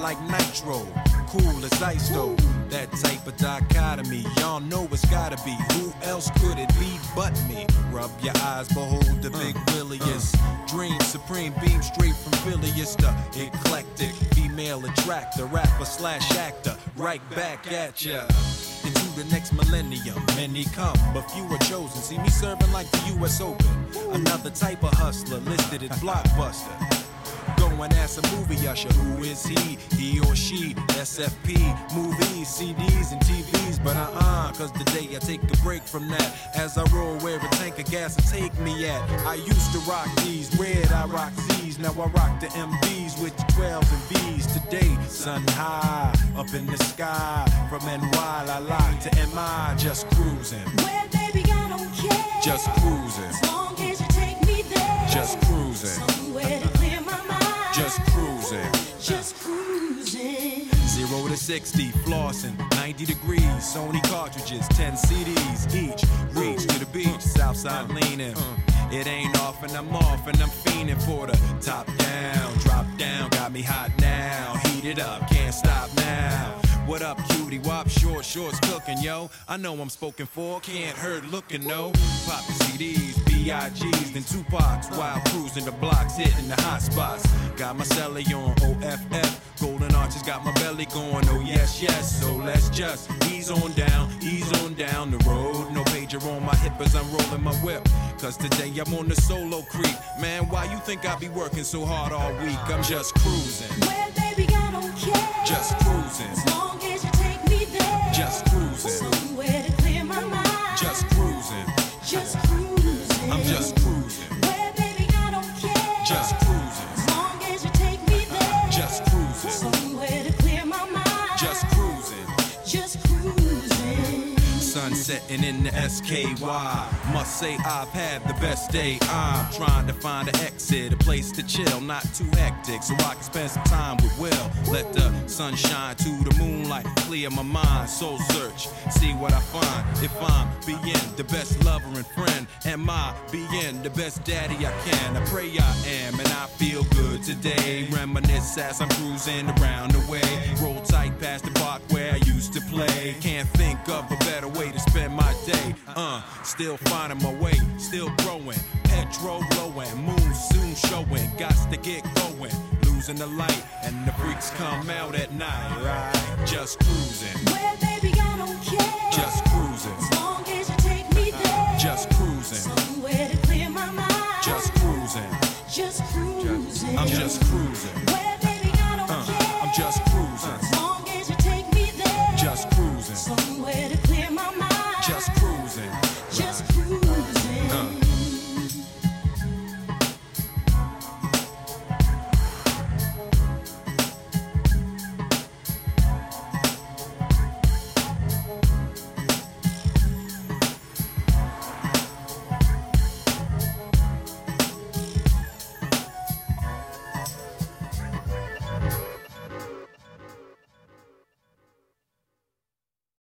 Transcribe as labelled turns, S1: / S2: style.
S1: like nitro. Cool as ice though. That type of dichotomy, y'all know it's gotta be. Who else could it be but me? Rub your eyes, behold the big Willius. Dream supreme, beam straight from Phileas to eclectic. Female attractor, rapper slash actor, right back at ya. Into the next millennium, many come, but few are chosen. See me serving like the U.S. Open, another type of hustler listed as blockbuster. Go and ask a movie usher who is he, he or she, SFP, movies, CDs, and TVs. But uh-uh, cause today I take a break from that. As I roll where a tank of gas will take me at. I used to rock these, red I rock these. Now I rock the MVs with the 12s and Vs. Today, sun high, up in the sky. From NY, I lock to MI, just cruising,
S2: Well, baby, I don't care.
S1: just cruising,
S2: as long as you take me there.
S1: just cruising,
S2: somewhere to clear my mind.
S1: just cruising.
S2: just cruising.
S1: Zero to 60, flossing, 90 degrees, Sony cartridges, 10 CDs each. Reach to the beach, Southside leaning. It ain't off and I'm off and I'm fiending for the top down, drop down. Got me hot now, heat it up, can't stop now. What up, cutie? Wop, short, shorts cooking, yo. I know I'm spoken for, can't hurt looking, no. Pop the CDs, B.I.G.'s, then Tupac's, while cruising the blocks, hitting the hot spots. Got my celly on OFF, golden arches got my belly going, oh yes, yes. So let's just ease on down, ease on down the road. No pager on my hip as I'm rolling my whip. Cause today I'm on the solo creep. Man, why you think I be working so hard all week? I'm just cruising,
S2: Well, baby, I don't care.
S1: just cruising,
S2: as long as you take me there.
S1: just cruising,
S2: somewhere to clear my mind.
S1: just cruising.
S2: just cruising.
S1: I'm just cruising,
S2: Well, baby, I don't care.
S1: just cruising,
S2: as long as you take me there.
S1: just cruising,
S2: somewhere to clear my mind.
S1: just cruising.
S2: just cruising.
S1: Sun setting in the SKY. Must say I've had the best day. I'm trying to find an exit, a place to chill, not too hectic, so I can spend some time with Will. Let the sun shine to the moonlight, clear my mind, soul search, see what I find. If I'm being the best lover and friend, am I being the best daddy I can? I pray I am, and I feel good today. Reminisce as I'm cruising around the way. Roll tight past the block where I used to play. Can't think of a better way to spend my day. Uh, still finding my way, still growing. Petrol blowing, moon soon showing. Gots to get going, losing the light, and the freaks come out at night. Right, just cruising,
S2: Well, baby, I don't care.
S1: just cruising,
S2: as long as you take me there.
S1: just cruising,
S2: somewhere to clear my mind.
S1: just cruising.
S2: just cruising.
S1: I'm just cruising,
S2: Well, baby, I don't
S1: uh,
S2: care.
S1: I'm just cruising,
S2: as long as you take me there.
S1: just cruising, Uh.
S2: somewhere